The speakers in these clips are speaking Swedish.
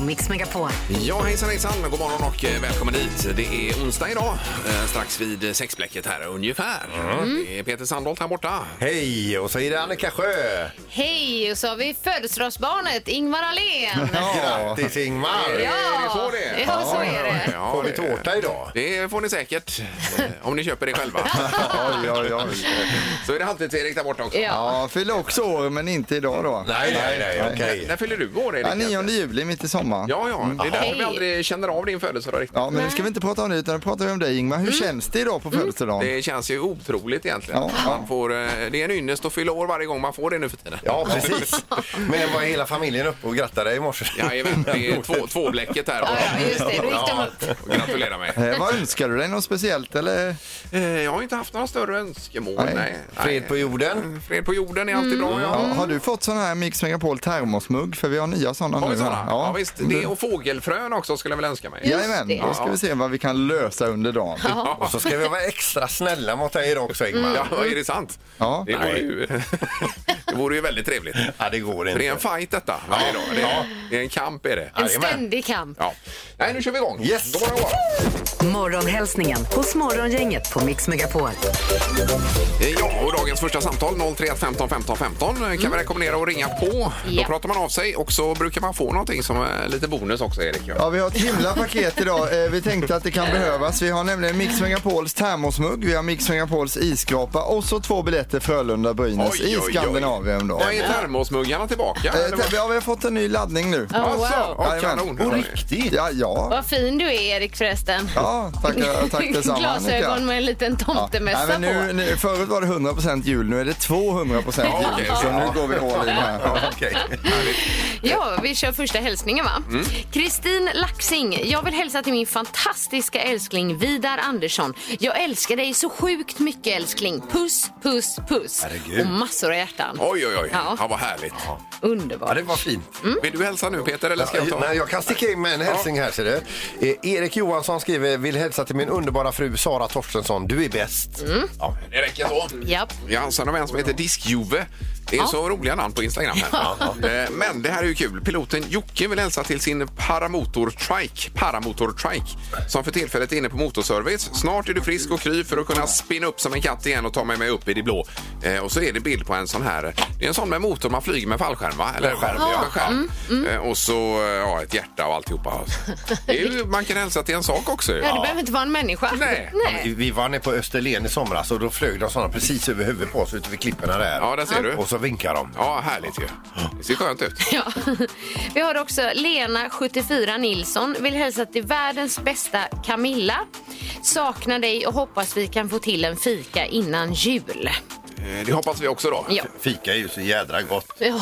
Mix Megapol. Ja, hejsan hejsan, god morgon och eh, välkommen hit. Det är onsdag idag, eh, strax vid sexblecket här ungefär. Mm. Det är Peter Sandholt här borta. Hej! Och så är det Annika Sjö. Hej! Och så har vi födelsedagsbarnet Ingmar Ahlén. Grattis Ingmar! Är det så det är? Ja, så är det. Ja, Får vi det- tårta idag? Det får ni säkert, eh, om ni köper det själva. Oj, oj, oj. Så är det alltid erik där borta också. Ja. Ja, fyller också år, men inte idag då. Nej, nej, nej, okej. När fyller du år, Erik? Ja, 9 juli, mitt i sommaren. Ja, ja, det är därför vi Hej. aldrig känner av din födelsedag riktigt. Ja, men nu ska vi inte prata om det, utan nu pratar vi om dig Ingmar. Mm. Hur känns det idag på födelsedagen? Det känns ju otroligt egentligen. Ja. Man får, eh, det är en ynnest att fylla år varje gång man får det nu för tiden. Ja, precis. Men var hela familjen uppe och grattade dig i morse? Jajamän, det är två, tvåblecket här. Ja, ja, just det. Då gick de upp. Och Gratulera mig. Eh, vad önskar du dig? Något speciellt eller? Eh, Jag har inte haft några större önskemål. Nej. Nej. Nej. Fred på jorden? Fred på jorden är alltid bra. Ja. Ja, Mm. har du fått sån här Mix Megapol termosmugg? För vi har nya sådana Har vi nu. här. sådana? Ja. visst. Det och fågelfrön också skulle jag väl önska mig. Jajamän, Just det. då ska vi se vad vi kan lösa under dagen. Och så ska vi vara extra snälla mot dig idag också Ingmar. Ja, är det sant? Ja. Det, vore Nej. ju, det vore ju väldigt trevligt. Ja, det går För inte. det är en fight detta varje dag. Det är, det är en kamp är det. En Jajamän. ständig kamp. Ja. Nej, nu kör vi igång. Yes. God morgon, god morgon. Morgonhälsningen hos Morgongänget på Mix Megapol. Eh, Ja, och dagens första samtal 031 15 15 15 eh, kan vi rekommendera att ringa på. Då Ja. pratar man av sig och så brukar man få någonting som är lite bonus också, Erik. Ja. Ja, vi har ett himla paket idag. Eh, vi tänkte att det kan behövas. Vi har nämligen Mix Megapols termosmugg, vi har Mix Megapols isskrapa och så två biljetter Frölunda-Brynäs Oj, oj, i oj. Skandinavien. Då. Vad är termosmuggarna tillbaka? Eh, Eller vad- Täby, ja, vi har fått en ny laddning nu. Oh, Alltså, wow. ja, Jajamän. kanon. På riktigt? Ja, ja. Vad fin du är, Erik, förresten. ja tack, eh, tack detsamma Glasögon Annika. med en liten Ja. Nej, tomtemössa men nu, på. nu, förut var det 100% jul, nu är det 200% Ja, okej, jul. Så ja. nu går vi all in här. Okej. Ja, vi kör första hälsningen, va? Kristin Laxing. Jag vill hälsa till min fantastiska älskling Vidar Andersson. Jag älskar dig så sjukt mycket, älskling. Puss, puss, puss. Herregud. Och massor av hjärtan. Oj, oj, oj. Ja. Mm. Ja. vad härligt. Ja, Underbart. det var fint. Vill du hälsa nu, Peter, eller ska jag ta? Nej, jag kan sticka in med en hälsning här ser du. Eh, Erik Johansson skriver, vill hälsa till min underbara fru Sara Torstensson. Du är bäst. Ja, det räcker så. Japp. Ja, sen har vi en som heter Diskjuve. Det är så roliga namn på Instagram. Här. Eh, Men det här är ju kul. Piloten Jocke vill hälsa till sin paramotor-trike, paramotor-trike som för tillfället är inne på motorservice. Snart är du frisk och kry för att kunna spinna upp som en katt igen och ta med mig upp i det blå. Eh, Och så är det bild på en sån här. Det är en sån med motor man flyger med fallskärm, va? Eller skärm, ja. med skärm. Eh, Och så eh, ja, ett hjärta och alltihopa. Det är ju, man kan hälsa till en sak också. ju. Ja, du behöver inte vara en människa. Nej. Nej. Vi var nere på Österlen i somras och då flög de såna precis över huvudet på oss ute vid klipporna där. Ja, där ser du. Och så vinkar de. Ja, härligt ju. Det ser skönt ut. Ja. Vi har också Lena, 74 Nilsson, vill hälsa till världens bästa Camilla. Saknar dig och hoppas vi kan få till en fika innan jul. Eh, Det hoppas vi också då. Ja, Fika är ju så jädra gott. ja.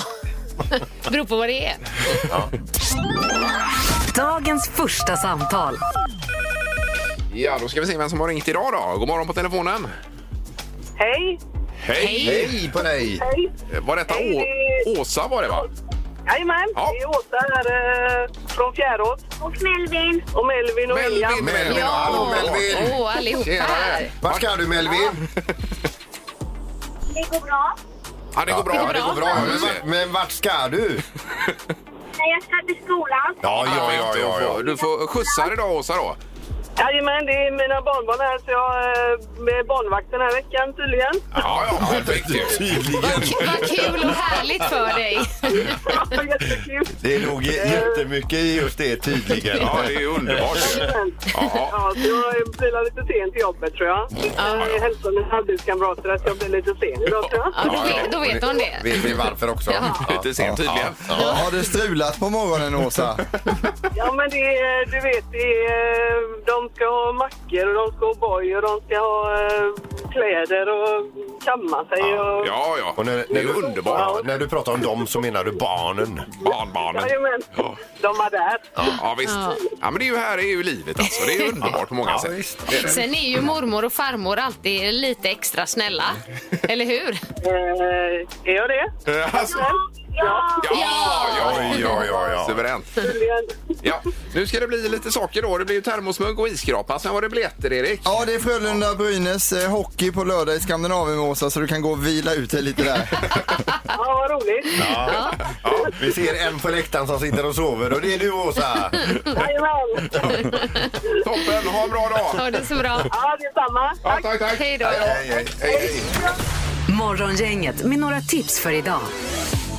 beror på vad det är. Dagens första samtal. Ja, då ska vi se vem som har ringt idag då. God morgon på telefonen. Hej! Hej! Hej på dig! Hej! Eh, Var detta Hej, Å- det Åsa var det va? Jajamän, Ja. det är Åsa här eh, från Fjärås. Och Melvin. Och Melvin och William. Melvin, Melvin. Ja. Hallå Melvin! Åh, allihopa här. Vart ska du Melvin? Det går bra. Ja, det går bra. Ja, det går bra. vi Men, ser. vart, men vart ska du? Nej, jag ska till skolan. Ja, ja, ja, ja, ja. Du får skjutsar idag Åsa då. Jajamän, det är mina barnbarn här så jag eh, är barnvakt den här veckan tydligen. Ja, ja, perfekt ju. Tydligen. Vad kul och härligt för dig. Jättekul. Det låg jättemycket i just det tydligen. Ja, det är ju underbart ju. Ja, ja. Ja, så jag blir lite sen till jobbet tror jag. Jag hälsar mina arbetskamrater att jag blir lite sen idag tror jag. Ja, då, vet, då vet hon det. Vet ni varför också? Ja. Lite sent tydligen. Ja, har det strulat på morgonen Åsa? Ja, men det är, eh, du vet, det är, eh, de ska ha mackor och de ska ha boj och de ska ha eh, kläder och kamma sig och... Ja, ja. Och när, Det är när, ju du, underbart. Ja, när du pratar om dem så menar du barnen. Barnbarnen. Jajamän, Ja. de är där. Ja, visst. Ja, men det är ju här är ju livet alltså. Det är ju underbart på många sätt. Det är det. Sen är ju mormor och farmor alltid lite extra snälla. Eller hur? Eh, är jag det? Eh, Alltså, Ja. Ja, Ja, ja, Oj, oj, oj, oj. Suveränt. tydligen. Ja, nu ska det bli lite saker då. Det blir ju termosmugg och iskrapa. Sen var det biljetter, Erik. Ja, det är Frölunda-Brynäs eh, hockey på lördag i Skandinavien-Åsa så du kan gå och vila ut dig lite där. Ja, vad roligt. Ja. Ja. Vi ser en på läktaren som sitter och sover och det är du Åsa. Jajamän. Toppen, ha en bra dag! Ha det så bra. Ja, detsamma. Ja, tack, tack. Hej då. Hej, hej. Hej, hej. Morgongänget med några tips för idag.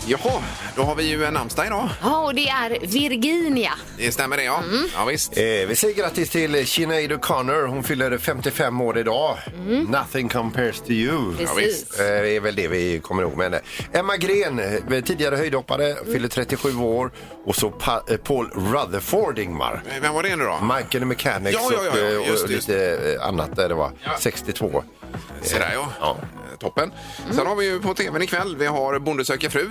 Jaha, då har vi ju en namnsdag idag. Ja, och det är Virginia. Det stämmer det, ja. Mm. Ja, visst. Eh, vi säger grattis till Sinead O'Connor. Hon fyller 55 år idag. Nothing compares to you. Mm. Ja, Precis. visst. Eh, Det är väl det vi kommer ihåg med henne. Emma Gren, eh, tidigare höjdhoppare, Mm. fyller 37 år. Och så pa- eh, Paul Rutherford Ingmar. Vem var det nu då? Michael and Mechanics Ja, ja, ja, och, eh, ja, just och det, just lite eh, annat där det var. Ja. 62. Se där ja. Ja. Eh, Toppen. Sen har vi ju på tvn ikväll, vi har Bonde söker fru.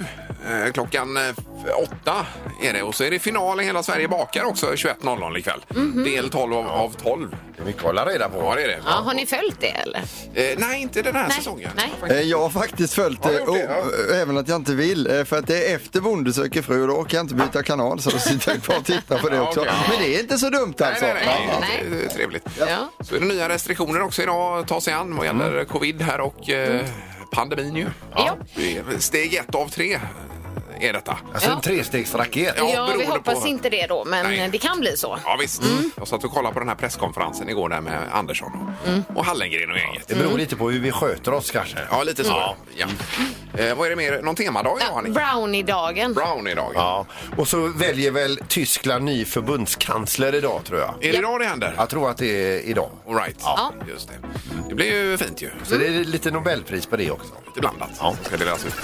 Eh, Klockan eh, åtta är det och så är det final i Hela Sverige bakar också 21.00 ikväll. Del 12 av, av 12. Det är mycket att hålla reda på. Ja, det är det. Mhm. Ja, har ni följt det eller? Eh, nej, inte den här Nej, säsongen. nej. Eh, Jag har faktiskt följt Har du det, gjort det? och, eh, även att jag inte vill. eh, För att det är efter Bonde söker fru och då orkar jag inte byta kanal så då sitter jag kvar och tittar på det Ja, också. okej. Men det är inte så dumt Nej, alltså. nej, nej. Nej. Det är Trevligt. Ja. Så är det nya restriktioner också idag att ta sig an vad gäller covid här och eh, pandemin ju. Ja. Det är Steg ett av tre eh, är detta. Alltså Ja. en trestegsraket. Ja, Ja, vi beroende hoppas på- inte det då, men Nej. det kan bli så. Ja, visst. Jag satt och kollade på den här presskonferensen igår där med Andersson och, och Hallengren och gänget. Det beror lite på hur vi sköter oss kanske. Mm. Ja, lite så. Ja. Eh, vad är det mer? Någon temadag idag, Ja, Annika? Brownie-dagen. Brown idag. Ja. Och så väljer väl Tyskland ny förbundskansler idag tror jag. Är det idag det händer? Jag tror att det är idag. All right. Ja. Just det. det blir ju fint ju. Så det är lite Nobelpris på det också. Lite blandat. Så Ska det, delas ut.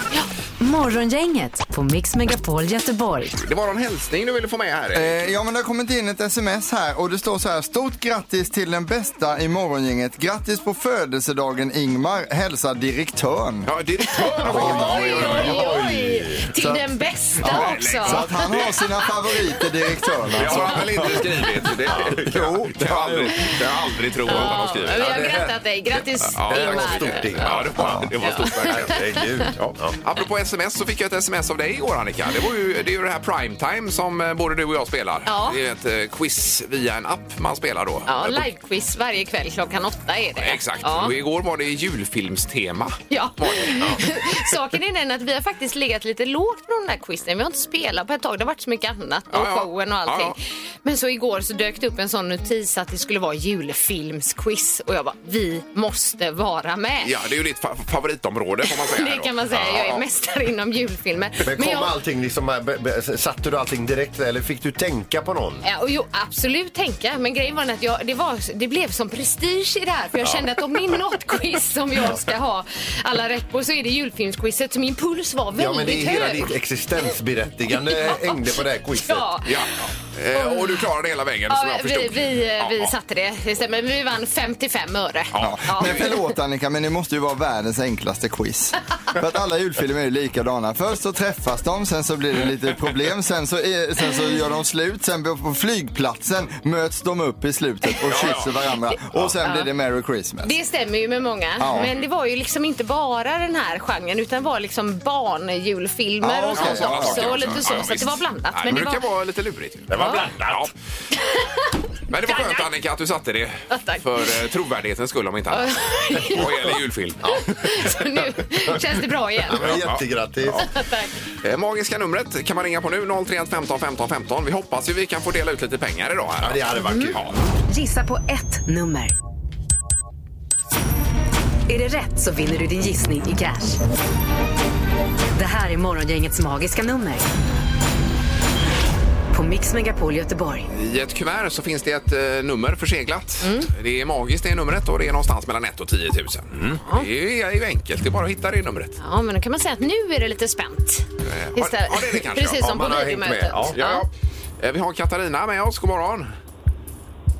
Morgongänget på Mix Megapol Göteborg. det var någon hälsning du ville få med här. Eh, Ja men det har kommit in ett sms här och det står så här. Stort grattis till den bästa i morgongänget. Grattis på födelsedagen Ingmar. Hälsa direktören. Ja, direktören har Oj, fått oj, oj. Till den bästa Ja, också. Så att han har sina favoriter direktören Det alltså. har han väl inte skrivit? Jo, Det kan jag aldrig, kan jag aldrig tro att han har Ja, skrivit. vi har det- grattat dig. Grattis, Ja, det var Ingmar. stort, Ingmar. Ja, det var, det var stort verkligen. Herregud. Ja. Apropå sms så fick jag ett sms av dig igår Annika. Det, var ju, det är ju det här primetime som eh, både du och jag spelar. Ja. Det är ett eh, quiz via en app man spelar då. Ja, Eh, på- livequiz varje kväll klockan åtta är det. Exakt. Ja. Och igår var det julfilmstema. Ja. Var det? Saken är den att vi har faktiskt legat lite lågt med de där quizen. Vi har inte spelat på ett tag. Det har varit så mycket annat och Ja, ja. showen och allting. Ja, ja. Men så igår så dök det upp en sån notis att det skulle vara julfilmsquiz och jag bara, vi måste vara med. Ja, det är ju ditt fa- favoritområde får man säga. Det då. kan man säga. Jag Ja. är mästare inom julfilmer. Men kom jag... allting liksom, eh, be- be- satte du allting direkt eller fick du tänka på någon? Ja, och jo, absolut tänka. Men grejen var den att jag, det, var, det blev som prestige i det här. För jag kände att om det är något quiz som jag ska ha alla rätt på så är det julfilmsquizet. Så min puls var väldigt Ja men det är hela hög. ditt existensberättigande hängde på det här quizet. Ja. Ja. Eh, och du klarade hela vägen som Ja, Alltså, jag vi, förstod. vi, eh, Ja, vi ja. satte det, det stämmer. Men Vi vann 55 öre. Ja. Men förlåt Annika, men det måste ju vara världens enklaste quiz. För att alla julfilmer är ju likadana. Först så träffas de, sen så blir det lite problem, sen så, är, sen så gör de slut, sen på flygplatsen möts de upp i slutet och kysser varandra. Och sen blir det Merry Christmas. Det stämmer ju med många. Ja. Men det var ju liksom inte bara den här genren utan det var liksom barnjulfilmer Ja, och okej. sånt sådana Alltså, också. saker Och lite så, så att det visst. var blandat. Nej, men det brukar var... vara lite lurigt. ju. Det var blandat. Ja. Men det var skönt Annika att du satte det. Ja, tack. För eh, trovärdighetens skull om inte annat. Vad gäller julfilm. så nu känns det bra igen. Men Jättegrattis. Eh, Magiska numret kan man ringa på nu. 031 15 15 15. Vi hoppas ju vi kan få dela ut lite pengar idag. Här. Ja, det hade varit kul. Ja. Gissa på ett nummer. Är det rätt så vinner du din gissning i cash. Det här är Morgongängets magiska nummer. På Mix Megapol Göteborg. I ett kuvert så finns det ett eh, nummer förseglat. Mm. Det är magiskt det numret och det är någonstans mellan 1 och 10 000. Mm. Det är ju enkelt. Det är bara att hitta det numret. Ja, men då kan man säga att nu är det lite spänt. ja, ja, det är det kanske, Precis ja. som Ja, på man har hängt med. videomötet. Ja. Ja. Eh, Vi har Katarina med oss. God morgon.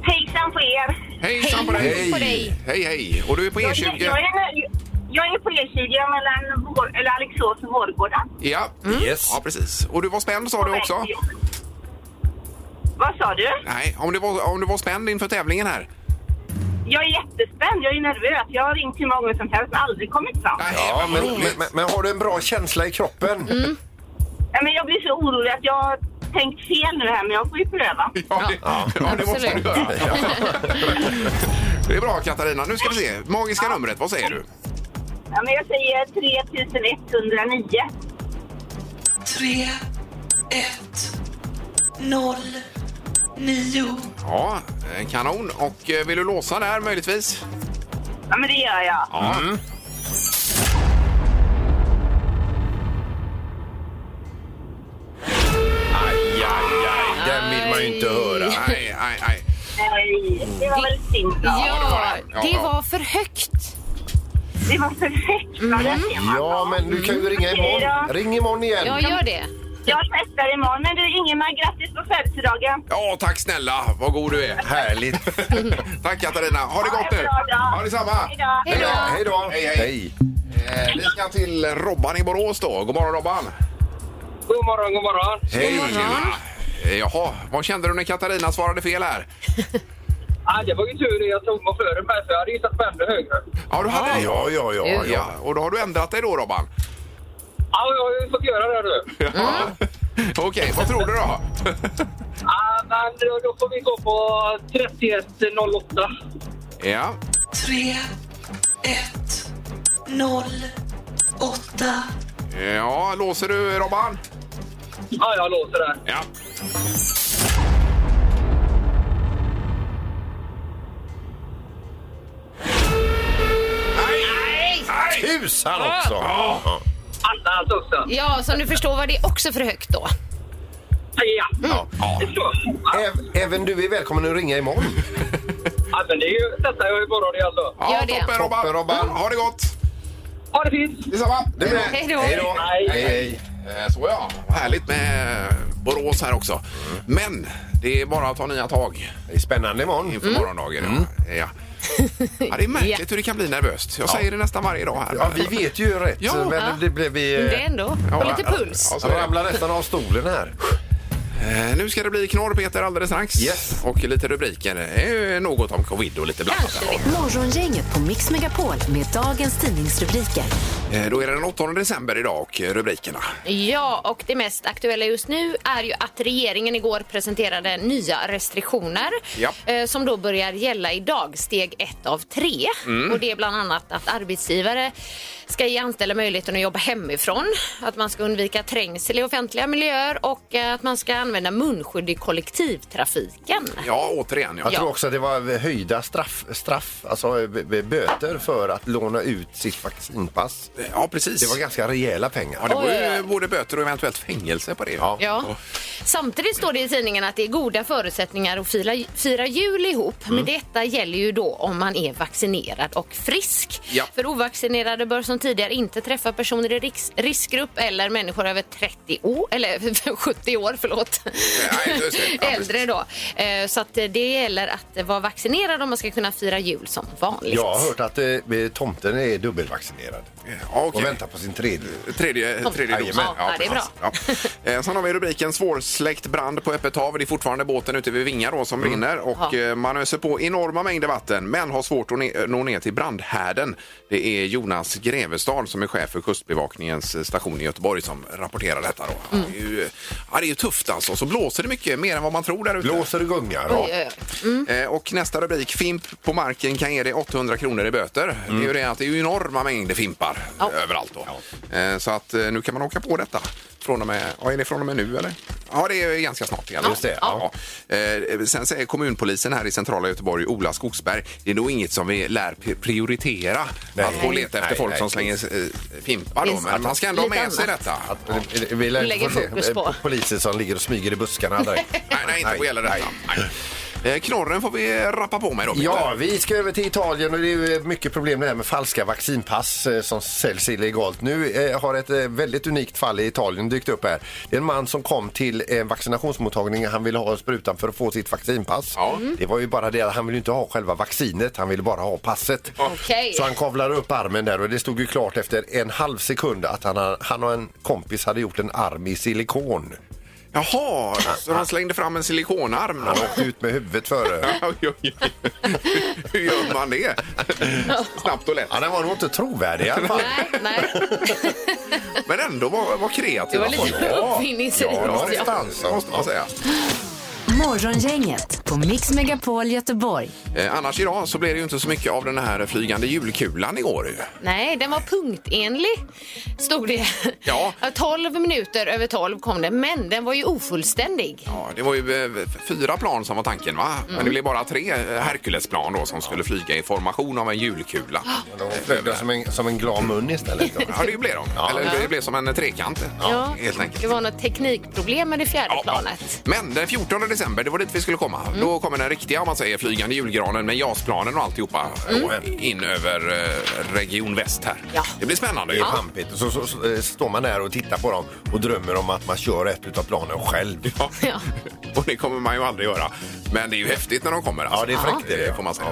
hejsan på er. Hejsan på dig. Hej på dig. Hej, hej. Och du är på E Jag, E20. är- jag, är, jag är på E20 mellan Vår, eller Alingsås och Vårgårda. Ja. Mm. Yes. ja, precis. Och du var spänd sa På du väg också? till jobbet. Vad sa du? Nej, om du var, om du var spänd inför tävlingen här. Jag är jättespänd, jag är nervös. Jag har ringt hur många som helst, aldrig kommit fram. Nej, Ja, vad men, roligt. men, men har du en bra känsla i kroppen? Nej, men jag blir så orolig att jag har tänkt fel nu här, men jag får ju pröva. Ja, det, ja, det måste du Absolut. göra. Det är bra Katarina. Nu ska vi se. Magiska numret, vad säger du? Ja, men jag säger 3109. 3, 1, 0, 9. Ja, eh, kanon. Och eh, vill du låsa där möjligtvis? Ja, men det gör jag. Ja. Aj, aj, aj. Den vill man ju inte Aj. höra. Nej, nej, nej. Nej, det var väl synd. Ja, Ja. det var det. Ja, det ja. var för högt. Det var perfekt. vad det Mm. ser man. Ja, men du kan ju ringa imorgon. Ring imorgon igen. Jag gör det. Jag testar imorgon. Men du Ingemar, grattis på födelsedagen. Ja, tack snälla. Vad god du är. Härligt. Tack Katarina. Ha det Ha gott en nu. bra dag. Ha detsamma. Hej då. Hej då. Hej då. Hej, hej. Eh, Vi ska till Robban i Borås då. God morgon Robban. God morgon, god morgon. Hej. Tjena. Eh, Jaha, vad kände du när Katarina svarade fel här? Ah, det var ju tur att jag tog mig före mig, för jag hade gissat på ännu högre. Ja, du hade det. Eh, Ja, ja, ja. ja. Ja, och då har du ändrat dig då Robban? Ja, jag har ju fått göra det nu. Ja. Mm. Okej, vad tror du då? Ah, men då- då får vi gå på 3108. ja. 3, 1, 0, 8. ja, låser du Robban? Ja, ah, jag låter det. Ja. Nej! Nej! Tusan också! Ja. Annars också. Ja, som du förstår var det också för högt då. Ja. Ja. Det är så. Äv- Även du är välkommen att ringa imorgon. Ja, men det är ju, testar jag imorgon igen då. Ja, Gör det. toppen Robban. Toppen, Robban. Ha det gott! Ha det fint! Detsamma! Det är bra. Hej då. Hej då. Hej. Hej, hej. Eh, Så ja, Vad härligt med Borås här också. Mm. Men det är bara att ta nya tag Det är spännande imorgon. Mm. inför morgondagen. Mm. Ja. Ja. Ja, det är märkligt hur det kan bli nervöst. Jag säger det nästan varje dag här. Ja, vi vet ju rätt, Ja. men det blev- blev vi... Det är ändå. Och lite puls. Ja, så är Jag det. ramlade nästan av stolen här. Eh, Nu ska det bli knorr, Peter, alldeles strax. Yes. Och lite rubriker. Eh, Något om covid och lite blandat. Kanske det. Morgongänget på Mix Megapol med dagens tidningsrubriker. Eh, Då är det den 8 december idag och eh, rubrikerna. Ja, och det mest aktuella just nu är ju att regeringen igår presenterade nya restriktioner Ja. eh, som då börjar gälla idag, steg ett av tre. Och det är bland annat att arbetsgivare ska ge anställda möjligheten att jobba hemifrån, att man ska undvika trängsel i offentliga miljöer och eh, att man ska använda munskydd i kollektivtrafiken. Ja, återigen. Ja. Jag tror också att det var höjda straff, straff alltså b- b- böter för att låna ut sitt vaccinpass. ja precis. Det var ganska rejäla ja, pengar. det var Oj, oj, ju oj. både böter och eventuellt fängelse på det. Ja. Samtidigt står det i tidningen att det är goda förutsättningar att fira, fira jul ihop. Mm. Men detta gäller ju då om man är vaccinerad och frisk. Ja. För ovaccinerade bör som tidigare inte träffa personer i risk, riskgrupp eller människor över 30 år, eller 70 år, förlåt. Nej, just det. Ja, precis. Äldre då. Eh, Så att eh, det gäller att vara vaccinerad om man ska kunna fira jul som vanligt. Jag har hört att eh, tomten är dubbelvaccinerad Ja, och okej. väntar på sin tredje. Tredje, tredje dosen. Jajamän. Ja, det är precis. Ja. Eh, Sen har vi rubriken svårsläckt brand på öppet hav. Det är fortfarande båten ute vid Vinga då som brinner och Ja. eh, man öser på enorma mängder vatten men har svårt att ne- nå ner till brandhärden. Det är Jonas Grevestad som är chef för Kustbevakningens eh, station i Göteborg som rapporterar detta. Då. Mm. Det, är ju, ja, det är ju tufft alltså. Så blåser det mycket mer än vad man tror där ute. Blåser och gungar. Oj, oj, oj. Mm. Eh, Och nästa rubrik, Fimp på marken kan ge dig 800 kronor i böter. Det är Mm. ju det att det är ju enorma mängder fimpar Ja. överallt då. Eh, Så att eh, nu kan man åka på detta. Från och med, ja, är det från och med nu eller? Ja, det är ganska snart. Ja, Just det, ja. Eh, Sen säger kommunpolisen här i centrala Göteborg, Ola Skogsberg, det är nog inget som vi lär pri- prioritera. Nej. Att gå och leta efter Nej, folk nej. som slänger eh, fimpar då. Finns- Men man ska ändå ha Lite med sig annat. detta. Att, eh, Vi lär Lägger inte få se, fokus eh, på. poliser som ligger och smyger i buskarna. Där. Nej, nej, inte vad gäller detta. Nej. Eh, Knorren får vi rappa på med då. Peter. Ja, vi ska över till Italien och det är ju mycket problem det här med falska vaccinpass eh, som säljs illegalt. Nu eh, har ett eh, väldigt unikt fall i Italien dykt upp här. Det är en man som kom till en vaccinationsmottagning. Han ville ha sprutan för att få sitt vaccinpass. Ja. Mm. Det var ju bara det att han ville inte ha själva vaccinet. Han ville bara ha passet. Okej. Så han kavlade upp armen där och det stod ju klart efter en halv sekund att han, han och en kompis hade gjort en arm i silikon. Jaha, så han slängde fram en silikonarm då? Ut med huvudet före. Oj, oj, oj. Hur gör man det? Snabbt och lätt. Ja, den var nog inte trovärdig i alla fall. Nej, nej. Men ändå var, var Det kreativ. var lite uppfinningsrikt. Ja, Ja, någonstans. Det måste man säga. Morgongänget på Mix Megapol Göteborg. Eh, annars idag så blev det ju inte så mycket av den här flygande julkulan igår. ju. Nej, den var punktenlig, stod det. Ja. 12 minuter över 12 kom den, men den var ju ofullständig. Ja, det var ju eh, fyra plan som var tanken va? Mm. Men det blev bara tre eh, Herculesplan då som skulle flyga i formation av en julkula. De flög där som en, som en glad mun istället. Ja, det blev de. Eller det blev som en trekant. Ja. Helt enkelt. Det var något teknikproblem med det fjärde Ja, ja. planet. Men den 14 december, det var dit vi skulle komma. Mm. Då kommer den riktiga om man säger, flygande julgranen med JAS-planen och alltihopa mm. in över eh, region väst här. Ja. Det blir spännande. Det ju. är pampigt. Så, så, så eh, står man där och tittar på dem och drömmer om att man kör ett utav planen själv. Ja. Ja. Och det kommer man ju aldrig göra. Men det är ju häftigt när de kommer. Alltså. Ja, det är fräckt, det är det. får man säga.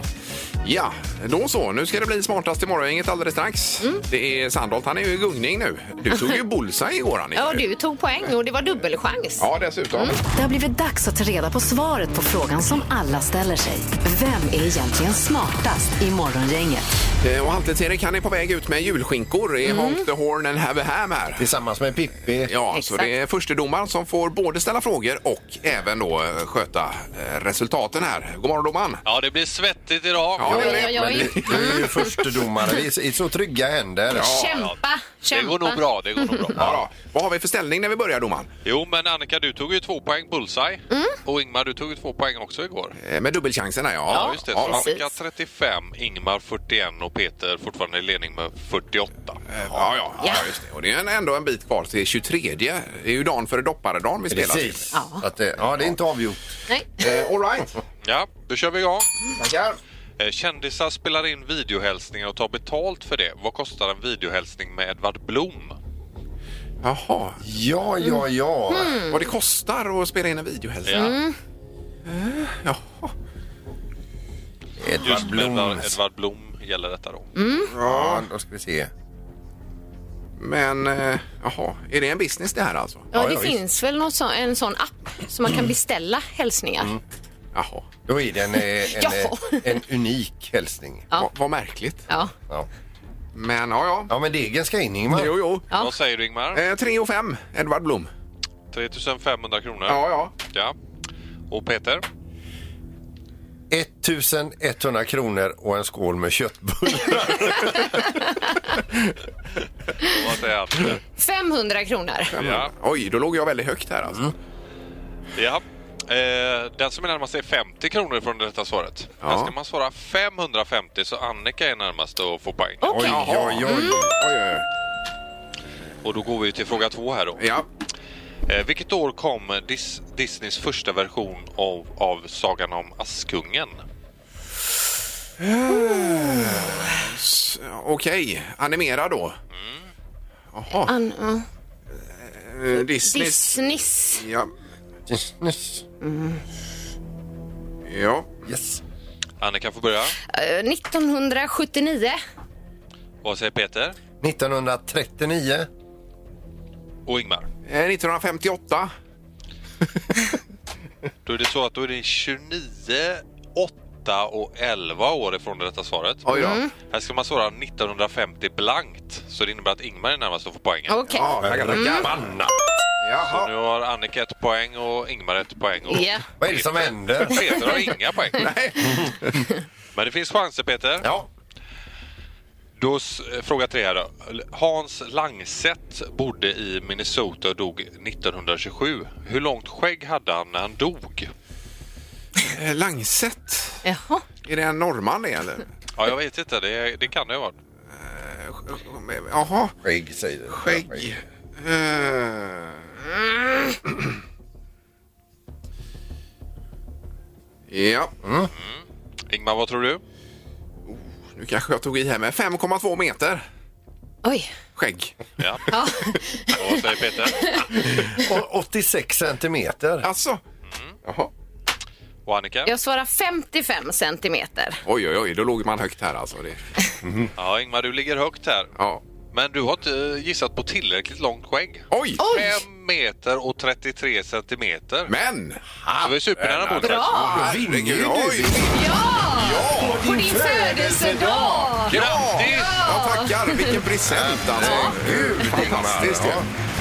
Ja, då så. Nu ska det bli smartast i morgongänget alldeles strax. Mm. Det är Sandholt, han är ju i gungning nu. Du tog ju bullseye igår, Annika. Ja, du Mm. tog poäng och det var dubbelchans. Ja, dessutom. Det har blivit dags att ta reda på svaret på frågan som alla ställer sig. Vem är egentligen smartast i morgongänget? Eh, Och Halvtids-Erik, han är på väg ut med julskinkor Mm. i Honk the Horn and Have a Ham här. Tillsammans med Pippi. Ja, så Exakt. det är förstedomaren som får både ställa frågor och även då eh, sköta eh, resultaten här. God morgon domaren! Ja, det blir svettigt idag. Oj, det är oj, Men oj. vi vi är ju förstedomare. Vi är så- i så trygga händer. Kämpa, kämpa. Det går nog bra. Det går nog bra. Ja, då. Vad har vi för ställning när vi börjar domaren? Jo, men Annika, du tog ju två poäng bullseye. Mm. Och Ingmar, du tog ju två poäng också igår. Eh, Med dubbelchansen här, ja. just det. ja, Så precis. Annika 35, Ingmar 41 och Peter fortfarande i ledning med 48. Eh, Ja, ja, ja, Ja. just det. Och det är en- ändå en bit kvar till 23. Det är ju dagen före dopparedagen vi spelar till. Precis. Ja. Så Att det, ja, det är inte avgjort. Nej. Eh, all right. Ja, då kör vi igång. Tackar. Eh, Kändisar spelar in videohälsningar och tar betalt för det. Vad kostar en videohälsning med Edvard Blom? Jaha, Ja, ja, ja. vad det kostar att spela in en videohälsning. Ja. Mm. Ja. Edvard Just med Edvard, Bloms. Edvard Blom gäller detta då. Mm. Ja, då ska vi se. Men, eh, jaha, är det en business det här alltså? Ja, Ja, det ja, visst. finns väl någon sån, en sån app som man kan beställa hälsningar. Jaha, Då är det en, eh, en, Ja. eh, en unik hälsning. Ja. vad, vad märkligt. Ja. Ja. Men ja, ja. ja, men degen ska in, Ingemar. Jo, jo. Ja. Vad säger du Ingmar? Eh, 3 och 5, Edvard Blom. 3500 kronor. Ja, ja. Ja. Och Peter? 1100 kronor och en skål med köttbullar. Vad säger han? 500 kronor. Ja. Oj, då låg jag väldigt högt här alltså. Ja. Eh, den som är närmast är 50 kronor från detta svaret. Ja. Här ska man svara 550 så Annika är närmast och får poäng. Okej. Jaha. Oj, oj, oj. Oj, oj, oj. Och då går vi till fråga två här då. Ja. Eh, vilket år kom Dis- Disneys första version av, av Sagan om Askungen? S- Okej, animera då. Jaha, An- ja. eh, Disney. Disneys. Ja. Yes. ja. Yes. Annika får börja. Eh, 1979. Vad säger Peter? 1939. Och Ingmar? Eh, 1958. Då är det så att då är det 29, 8 och 11 år ifrån detta svaret. Oj då. Mm. Här ska man svara 1950 blankt. Så det innebär att Ingmar är närmast och får poängen. Okej. Ja, tackar, tackar. Anna. Så nu Jaha. har Annika ett poäng och Ingmar ett poäng. Och Ja. Vad är det som händer? Peter har inga poäng. Nej. Men det finns chanser Peter. Ja. Då s- eh, fråga tre här då. Hans Langset bodde i Minnesota och dog 1927. Hur långt skägg hade han när han dog? Eh, Langset. Jaha. Är det en norrman det eller? Ja, jag vet inte. Det, det kan det ha varit. Jaha, Skägg säger du. skägg. Eh. Ja, Ingmar, vad tror du? nu kanske jag tog i här med 5,2 meter Oj. skägg. Ja. Och vad säger Peter? Och 86 centimeter. Alltså. Jaha. Och Annika? Jag svarar 55 centimeter. Oj, oj, oj, då låg man högt här alltså. Det, Ja, Ingmar, du ligger högt här. ja. Men du har inte eh, gissat på tillräckligt långt skägg. Oj! Oj! 5 meter och 33 centimeter. Men! ah, Så vi är supernära på det. Bra! Herregud! Oj! Ja! På din födelsedag! Grattis! Ja, tackar! Vilken present alltså! Gud, Fantastiskt ju!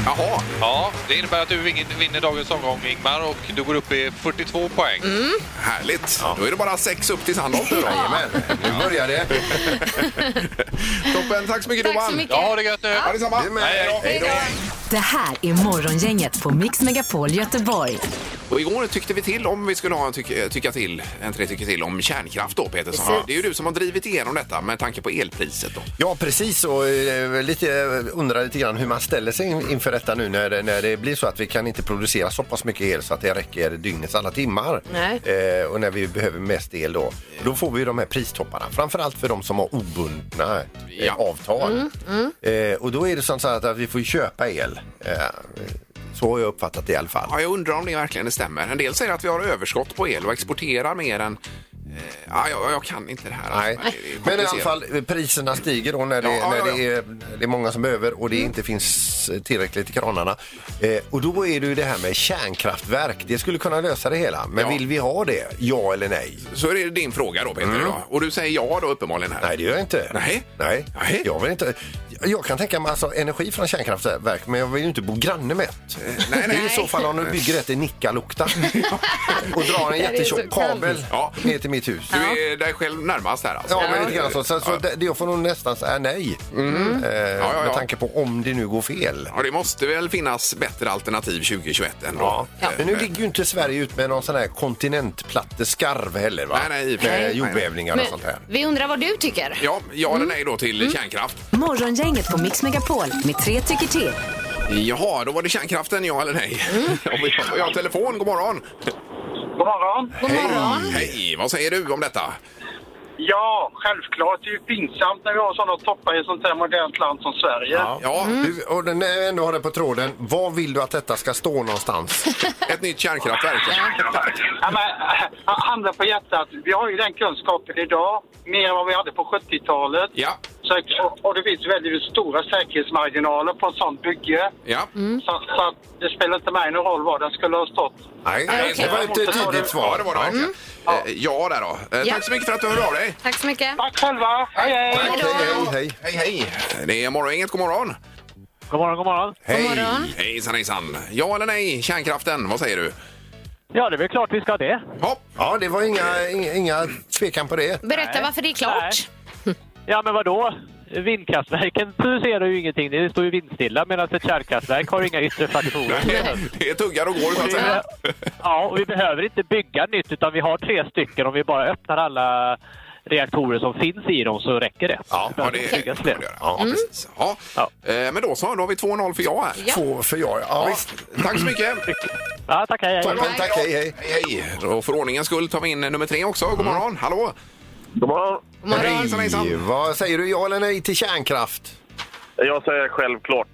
Jaha, Ja, det innebär att du vin- vinner dagens omgång Ingmar och du går upp i 42 poäng. härligt! Då är det bara sex upp till Sandholt nu då. Jajamän, nu börjar det. Toppen, tack så mycket Tack så Johan! mycket. Ja, ha det gött nu! Ha detsamma! Det med. Hej då! Det här är Morgongänget på Mix Megapol Göteborg. Och igår tyckte vi till om vi skulle ha en tycka, tycka till, en tre tycker till om kärnkraft då Peter. som- Precis. Det är ju du som har drivit igenom detta med tanke på elpriset då. Ja, precis. Och eh, lite, eh, undrar lite grann hur man ställer sig in- inför detta nu när, det- när det blir så att vi kan inte producera så pass mycket el så att det räcker dygnets alla timmar. Nej. Eh, och när vi behöver mest el då. Då får vi ju de här pristopparna. Framförallt för de som har obundna eh, Ja. avtal. Eh, och då är det som så att att vi får köpa el. Eh, så har jag uppfattat det i alla fall. Ja, jag undrar om det verkligen stämmer. En del säger att vi har överskott på el och exporterar mer än... Eh, ja, jag, jag kan inte det här. Nej. Alltså. Det är Men i alla komplicerat. fall, eh, priserna stiger då när, det, Ja, ja, Mm. när ja. Det, är, det är många som behöver och det inte finns eh, tillräckligt i kranarna. Eh, och då är det ju det här med kärnkraftverk. Det skulle kunna lösa det hela. Men Ja. vill vi ha det? Ja eller nej? Så är det din fråga då Peter idag. Och du säger ja då uppenbarligen här. Mm. Nej, det gör jag inte. Nej. Nej. Nej. Jag vill inte. Jag kan tänka mig alltså energi från kärnkraftverk, men jag vill ju inte bo granne med ett. nej, Det är i Eh, nej. så fall om du bygger ett i Nikkaluokta och drar en Det är så jättetjock kallt. kabel Ja. ner till mitt hus. Du är dig själv närmast här alltså. Ja, men lite grann så. så, så det, jag får nog nästan säga nej. Eh, Mm. ja, ja. Med tanke på om det nu går fel. Ja, det måste väl finnas bättre alternativ 2021 ändå. Ja. Eh, Men nu ligger ju inte Sverige ut med någon sån här kontinentplatteskarv heller va? Nej, nej, i och för sig. Med jordbävningar och sånt här. vi undrar vad du tycker. Ja, ja Mm. eller nej då till kärnkraft. Morgongänget på Mix Megapol med tre tycker till. Jaha, då var det kärnkraften, ja eller nej? Mm. Om vi har- Jag har telefon, god morgon. God morgon. God morgon. Hej, vad säger du om detta? Ja, självklart. Det är ju pinsamt när vi har sådana toppar i ett sånt här modernt land som Sverige. Ja, Du, och den- när vi ändå har det på tråden, var vill du att detta ska stå någonstans? ett nytt kärnkraftverk. Ja, men, äh, handen på hjärtat, vi har ju den kunskapen idag, mer än vad vi hade på 70-talet. Ja, Så, och, och det finns väldigt stora säkerhetsmarginaler på ett sånt bygge. ja. Så, så att det spelar inte mig någon roll var den skulle ha stått. Nej, Nej, okej. det var inte ett tydligt Ja, svar. det var det verkligen. Eh, Ja, där då. Eh, Ja. Tack så mycket för att du hörde av dig. Tack så mycket. Tack själva! Hej, hej! Hej, hej, hej. Hej, hej. Det är Morgongänget, god morgon. God morgon, god morgon. God morgon. Hejsan, hejsan. Ja eller nej, kärnkraften, vad säger du? Ja, det är väl klart vi ska det. Hopp. Ja, det var inga, inga, inga tvekan på det. Berätta varför det är klart. Ja, men vadå? Vindkraftverken producerar ju ingenting, det står ju vindstilla medan ett kärnkraftverk har inga yttre faktorer. Det är tuggar och går, så att säga. Ja, och vi behöver inte bygga nytt utan vi har tre stycken. Om vi bara öppnar alla reaktorer som finns i dem så räcker det. Ja, ja, det Okej. kan man göra. Ja, precis. Ja. Eh, Men då så, då har vi 2-0 för ja här. Mm. Ja. Två för jag. Ja, visst. Tack så mycket. Ja, tack, hej, hej. Toppen, tack, hej, hej. Hej, hej. Och för ordningens skull tar vi in nummer tre också. God Mm. morgon, hallå! God morgon. God morgon. Hej, Hejsan, hejsan. Vad säger du, ja eller nej till kärnkraft? Jag säger självklart.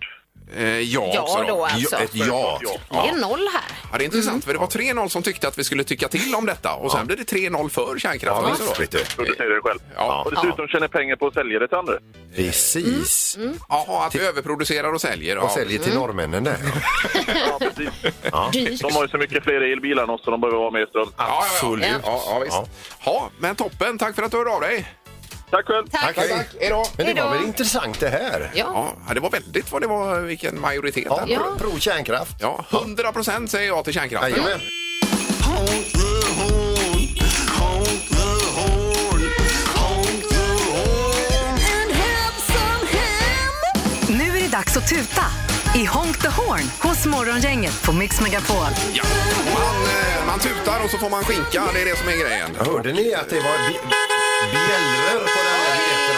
Eh, ja, Ja också då, alltså. Ja, ett ja. Det är noll här. Ja, det är intressant, Mm. för det var 3-0 som tyckte att vi skulle tycka till om detta och sen blev det 3-0 för kärnkraften. Ja, också då. visst, vet du. producerar det själv. Ja. Och dessutom tjänar pengar på att sälja det till andra. Precis. Mm. Jaha, att vi överproducerar och säljer. Och säljer till norrmännen där. ja. Ja, precis. Dyrt. De har ju så mycket fler elbilar än oss så de behöver vara med i ström. Ja, ja, ja. Absolut. Ja, ja, visst. Ja. Ja. men toppen. Tack för att du hörde av dig. Tack själv! Tack. Tack, Tack, hej då. Men det Hejdå. var väl intressant det här? Ja. Ja, det var väldigt vad det var, vilken majoritet. Ja, där. Ja. pro- pro-kärnkraft. Ja, 100 procent säger jag till kärnkraften. Jajamän. Nu är det dags att tuta i Honk the Horn hos Morgongänget på Mix Megapol. Ja. Man, eh, man tutar och så får man skinka, det är det som är grejen. Hörde ni att det var bj- bjällror på den här biljetten?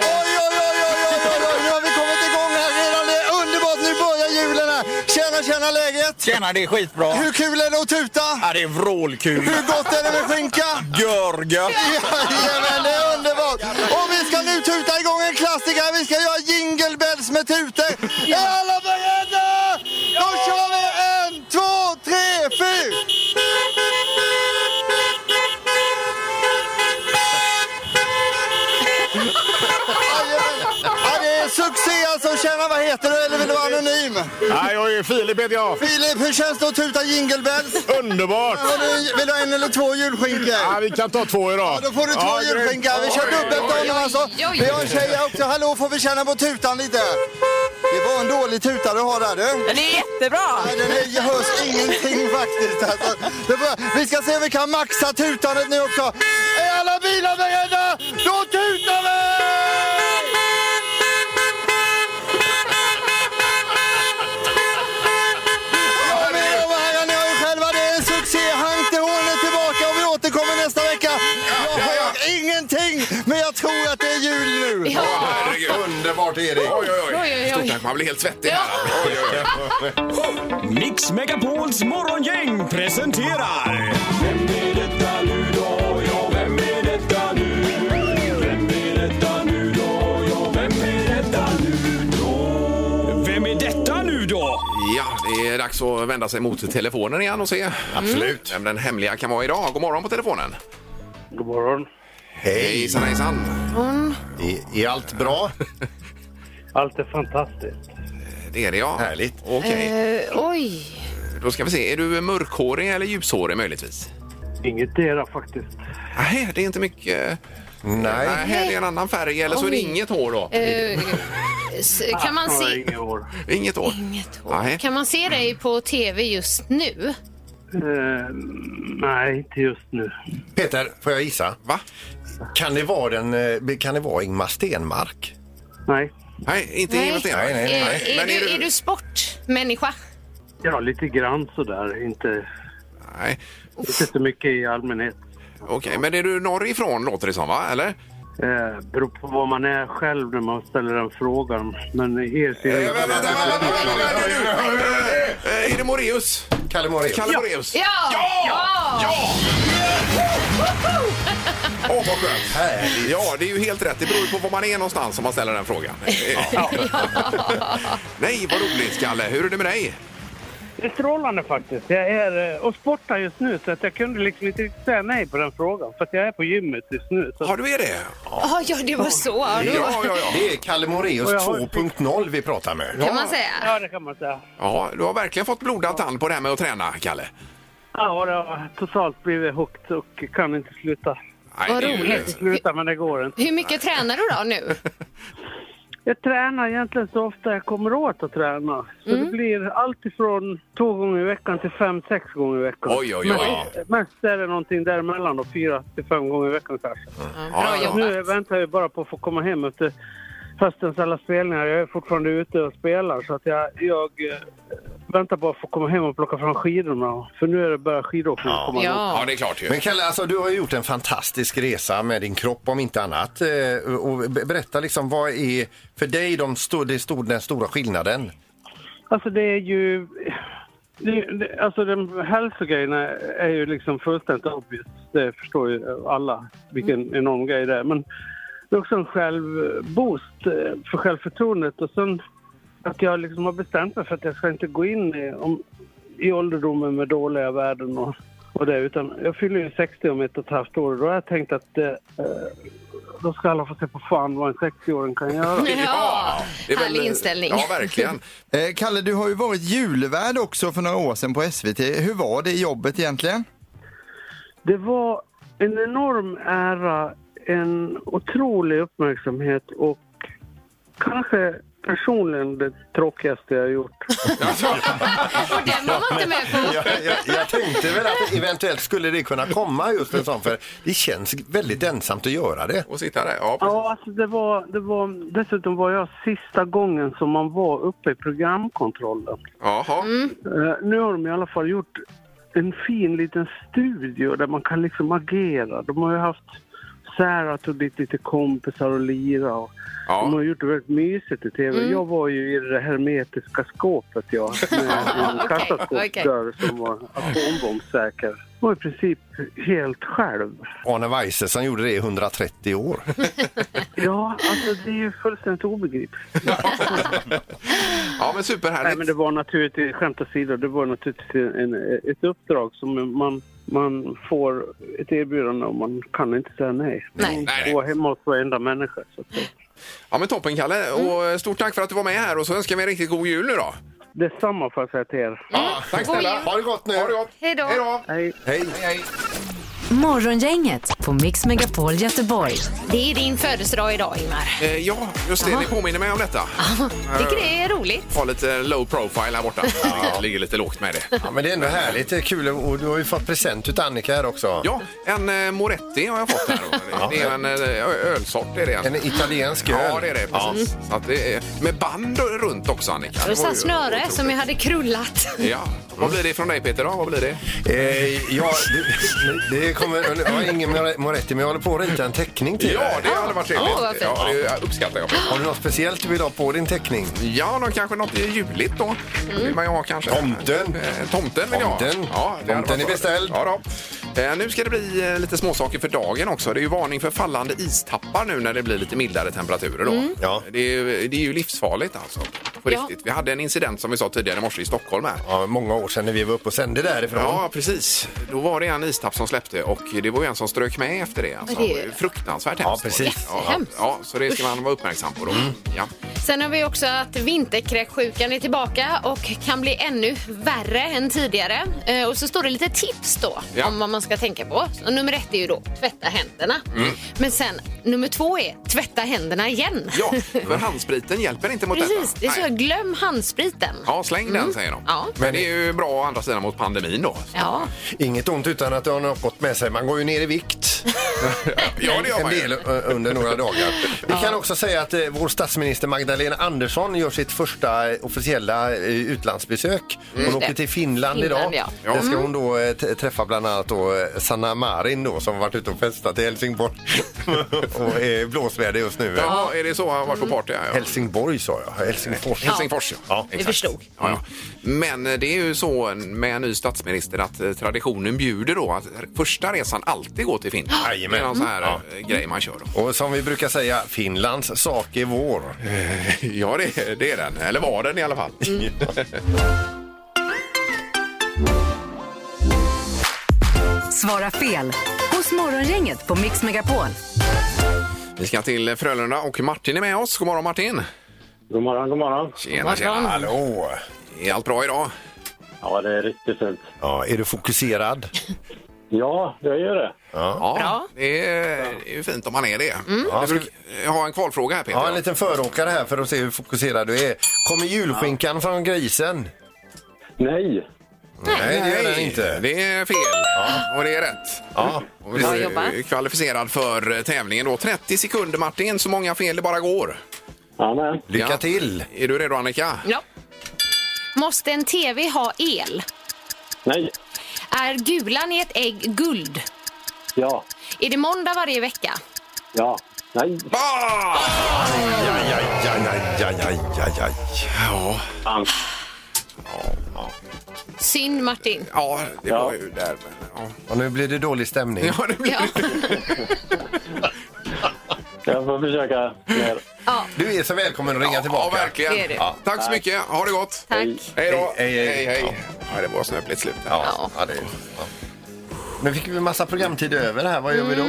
Oj, oj, oj, oj, oj, oj, oj, nu har vi kommit igång här redan. Det är underbart, nu börjar julen här. Tjena, tjena läget? Tjena, det är skitbra. Hur kul är det att tuta? Ja, det är vrålkul. Hur gott är det med skinka? Görgött. Jajamän, det är underbart! Och vi ska nu tuta igång en klassiker. Vi ska göra jingle bells med tutor. Är alla beredda? Då kör vi! En, två, tre, fyra! Tjena, alltså. vad heter du? Eller vill du vara anonym? Nej, jag är Filip heter jag. Filip, hur känns det att tuta jingle bells? Underbart! Har du- Vill du ha en eller två julskinkor? Ja, vi kan ta två idag. Ja, då får du två Ja, grymt. julskinka. Vi kör Oj, dubbelt oj, av dem oj, alltså. oj. Vi har en tjej här också. Hallå, får vi känna på tutan lite? Det var en dålig tuta du har där du. Den är jättebra. Nej, den är, jag hörs ingenting faktiskt. Alltså, det är bra. vi ska se om vi kan maxa tutandet nu också. Är alla bilar beredda? Då tutar vi! Jag är med om här, ni hör ju själva, det är en succé. Hank de Horn är tillbaka och vi återkommer nästa vecka. Jag har ingenting, men jag tror att det är jul nu. Herregud. Underbart Erik! Oj, oj, Oj, oj, oj. oj. Stort tack. Man blir helt svettig här. Oj, oj, oj. Mix Megapols morgongäng presenterar... Vem är detta nu då? Ja, vem är detta nu? Vem är detta nu då? Ja, vem är detta nu då? Vem är detta nu då? Ja, det är dags att vända sig mot telefonen igen och se Absolut. vem den hemliga kan vara idag. God morgon på telefonen. God morgon. Hej. Hejsan, hejsan. I, är allt bra? allt är fantastiskt. Det är det, ja. Härligt. Okej, Eh, oj. då ska vi se. Är du mörkhårig eller ljushårig möjligtvis? Ingetdera faktiskt. Nej, det är inte mycket... Nej. det är en annan färg eller så är det Oj. inget hår då. Eh, s- kan, man se, Inget hår. Inget hår? Inget Nej. kan man se dig på tv just nu? nej, inte just nu. Peter, får jag gissa? Va? Kan det vara, den, eh, kan det vara Ingmar Stenmark? Nej. Nej, inte Nej. Ingmar Stenmark. Nej, nej, nej. Eh, Är, Men du, är du- är du sportmänniska? Ja, lite grann sådär. Inte, Nej. inte så mycket i allmänhet. Okej, men är du norrifrån låter det som, va? Eller? Eh, beror på vad man är själv när man ställer den frågan. Men er ser jag... Eh, Är det Moreus? Kalle Moreus. Kalle Moreus. Ja! Ja! Åh, vad skönt! Ja, det är ju helt rätt. Det beror ju på var man är någonstans om man ställer den frågan. Ja. Nej, vad roligt, Kalle. Hur är det med dig? Det är strålande faktiskt. Jag är eh, och sportar just nu så att jag kunde liksom inte riktigt säga nej på den frågan. För att jag är på gymmet just nu. Så. Har du är det? Ah, ja, det var så. Ja, det var- Det är Kalle Moreus Och jag har- 2.0 vi pratar med. Kan man säga? Ja, det kan man säga. Ja, du har verkligen fått blodad tand på det här med att träna, Kalle. Ja, det har totalt blivit hooked och kan inte sluta. Nej, Vad det är ju- roligt. Sluta, men det går inte. Hur mycket tränar du då nu? Jag tränar egentligen så ofta jag kommer åt att träna. Så det blir allt ifrån två gånger i veckan till fem, sex gånger i veckan. Oj, oj, oj. Mest, mest är det någonting däremellan då, fyra till fem gånger i veckan kanske. bra Ja, ja. Nu väntar jag bara på att få komma hem efter höstens alla spelningar. Jag är fortfarande ute och spelar så att jag, jag eh, väntar bara på att få komma hem och plocka fram skidorna. För nu är det bara skidåkning att komma ihåg. det är klart ju. Men Kalle, alltså, du har ju gjort en fantastisk resa med din kropp om inte annat. Eh, Och be- berätta liksom, vad är för dig de sto- det sto- den stora skillnaden? Alltså det är ju... Det, det, alltså den hälsogrejerna är ju liksom fullständigt obvious. Det förstår ju alla vilken enorm grej det är. Men det är också en självboost eh, för självförtroendet. Och sen att jag liksom har bestämt mig för att jag ska inte gå in i, om, i ålderdomen med dåliga värden och, och det. Utan jag fyller ju 60 om ett och ett halvt år och då har jag tänkt att eh, eh, då ska alla få se på fan vad en 60-åring kan göra. Ja, det är väl- härlig inställning. Eh, Kalle, du har ju varit julvärd också för några år sedan på SVT. Hur var det jobbet egentligen? Det var en enorm ära, en otrolig uppmärksamhet och kanske personligen det tråkigaste jag gjort. Och den var man inte med på. Jag, jag, jag tänkte väl att eventuellt skulle det kunna komma just en sån, för det känns väldigt ensamt att göra det. Och sitta där, ja. Ja, alltså det var, det var, dessutom var jag sista gången som man var uppe i programkontrollen. Jaha. Eh, nu har de i alla fall gjort en fin liten studio där man kan liksom agera. De har ju haft Sarah tog dit lite kompisar och lira. Och De har gjort det väldigt mysigt i tv. Jag var ju i det hermetiska skåpet jag. Med en Okej, kassaskåpsdörr som var atombombssäker. Jag var i princip helt själv. Arne Weise som gjorde det i 130 år. Ja, alltså det är ju fullständigt obegripligt. Ja, men superhärligt. Nej, men det var naturligtvis, skämt åsido, det var naturligtvis en, ett uppdrag som man, man får ett erbjudande och man kan inte säga nej. Nej. Man får vara hemma hos varenda människa. Så att det, Ja, men toppen, Kalle. Och eh, stort tack för att du var med här och så önskar vi en riktigt god jul nu då. Detsamma får jag säga till er. Ja, tack snälla. Ha det gott nu. Ha det gott. Mm. Hej då. Hej. Hej. Hej. Morgongänget på Mix Megapol Göteborg. Det är din födelsedag idag, Ingmar. Eh, ja, just det. Ni påminner mig om detta. Eh, Tycker det är roligt. Ha lite low profile här borta. Det ligger lite lågt med det. Ja, men det är ändå härligt. Det är kul. Och du har ju fått present utav Annika här också. Ja, en eh, Moretti har jag fått här. då. Det är en eh, ö- ölsort. Är det En italiensk öl. Ja, det är det. Precis. Så att det är, med band runt också, Annika. Det var så här ju- snöre som jag hade krullat. Ja. Vad blir det från dig, Peter? Då? Vad blir det? Eh, ja, det, det kommer... Jag har ingen Moretti, men jag håller på att rita en teckning till Ja, dig. det hade varit trevligt. Åh, vad fint. ja, det uppskattar jag. Har du något speciellt du vill ha på din teckning? Ja, då kanske något juligt då. Det vill man ju ha kanske. Tomten. Eh, Tomten vill jag ha. Tomten. Ja, det hade Tomten är varit- beställd. Ja, då. Eh, Nu ska det bli eh, lite småsaker för dagen också. Det är ju varning för fallande istappar nu när det blir lite mildare temperaturer. Då. Ja. Det, är, ju- det är ju livsfarligt alltså. På Mm. Ja. riktigt. Vi hade en incident som vi sa tidigare i morse i Stockholm här. Ja, många år sedan när vi var uppe och sände därifrån. Ja, precis. Då var det en istapp som släppte och det var ju en som strök med efter det. Alltså. Det är- Fruktansvärt Ja, hemskt. precis. Mm. Ja, ja, ja, så det ska man vara uppmärksam på då. Ja. Sen har vi också att vinterkräksjukan är tillbaka och kan bli ännu värre än tidigare. Eh, Och så står det lite tips då Ja. om vad man ska tänka på. Och nummer ett är ju då tvätta händerna. Mm. Men sen nummer två är tvätta händerna igen. Ja, för handspriten hjälper inte mot Precis, detta. det är så Nej. glöm handspriten. Ja, släng den säger de. Ja. Men det är ju bra å andra sidan mot pandemin då. Ja. Inget ont utan att det har något gott med sig. Man går ju ner i vikt Ja, det gör en man ju. del eh, under några dagar. Vi kan också säga att eh, vår statsminister Magdalena Andersson gör sitt första eh, officiella eh, utlandsbesök. Mm. Hon åker till Finland, Finland, idag. ja. Där ska hon då eh, t- träffa bland annat då eh, Sanna Marin då, som har varit ute och festat i Helsingborg och är blåsväder just nu. eh. Jaha, är det så han har varit på party? Ja, ja. Helsingborg sa jag, Helsingfors. Helsingfors, ja. Ja. Vi förstod. Ja, ja. Men eh, det är ju så med en ny statsminister att eh, traditionen bjuder då att första resan alltid går till Finland. Jajamän. Det är någon sån här eh, grej man kör. Då. Och som vi brukar säga, Finlands sak är vår. Ja, det, det är den. Eller var den i alla fall. Svara fel hos Morgongänget på Mix Megapol. Vi ska till Frölunda och Martin är med oss. God morgon Martin! God morgon, god morgon. Tjena, tjena! Hallå! Är allt bra idag? Ja, det är riktigt fint. Ja, är du fokuserad? Ja, jag gör det. Ja, det är det är ju fint om man är det. Ja, ska- Du brukar jag har en kvalfråga här Peter. Ja, en liten föråkare här för att se hur fokuserad du är. Kommer julskinkan från grisen? Nej. Nej, det gör den inte. Det är fel och det är rätt. Ja. Och vi Bra är jobbat. Kvalificerad för eh, tävlingen då. 30 sekunder Martin, så många fel det bara går. Ja, nej. Lycka Ja. till! Är du redo Annika? Ja. Måste en TV ha el? Nej. Är gulan i ett ägg guld? Ja. Är det måndag varje vecka? Ja. Nej. Ah! Aj, aj, aj, aj, aj, aj, aj, aj. Ja, Fan. Synd Martin. ja det Ja. var ju där. Men, Och nu blir det dålig stämning. ja. Ja, det blir... Ja. Jag får försöka mer. Du är så välkommen att ringa Ja, tillbaka. verkligen. Det är det. Ja. Tack så mycket. Ha det gott. Tack. Hej då. Hej, hej, hej. Ja, det var snöpligt slut. här. Ja, ja, det är... ja. Nu fick vi massa programtid över här. Vad gör vi då?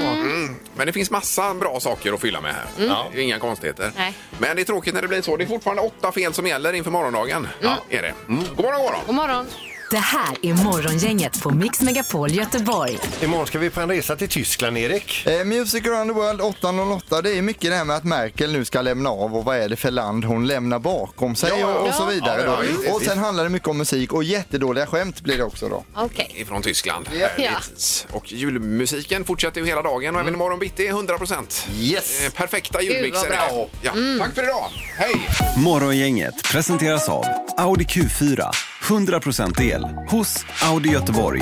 Men det finns massa bra saker att fylla med här. Det är Inga konstigheter. Nej. Men det är tråkigt när det blir så. Det är fortfarande åtta fel som gäller inför morgondagen. Ja, Mm. är det. God morgon, god morgon. God morgon. Det här är Morgongänget på Mix Megapol Göteborg. Imorgon ska vi på en resa till Tyskland, Erik. Eh, Music around the world 808, det är mycket det här med att Merkel nu ska lämna av och vad är det för land hon lämnar bakom sig Ja, ja, och, och så ja. vidare. Ja, Då. ja, visst, och sen handlar det mycket om musik och jättedåliga skämt blir det också då. Okej. ifrån Tyskland. Ja. Härligt. Och julmusiken fortsätter ju hela dagen och även imorgon bitti är 100 procent. Eh, Yes. Perfekta julmixer. Gud, vad bra. Ja. Tack för idag. Hej! Morgongänget presenteras av Audi Q4. 100% el hos Audi Göteborg.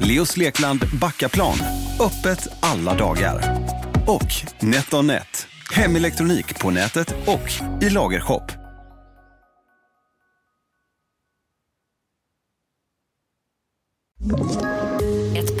Leos Lekland Backaplan. Öppet alla dagar. Och NetOnNet. Hemelektronik på nätet och i lagershop. Ett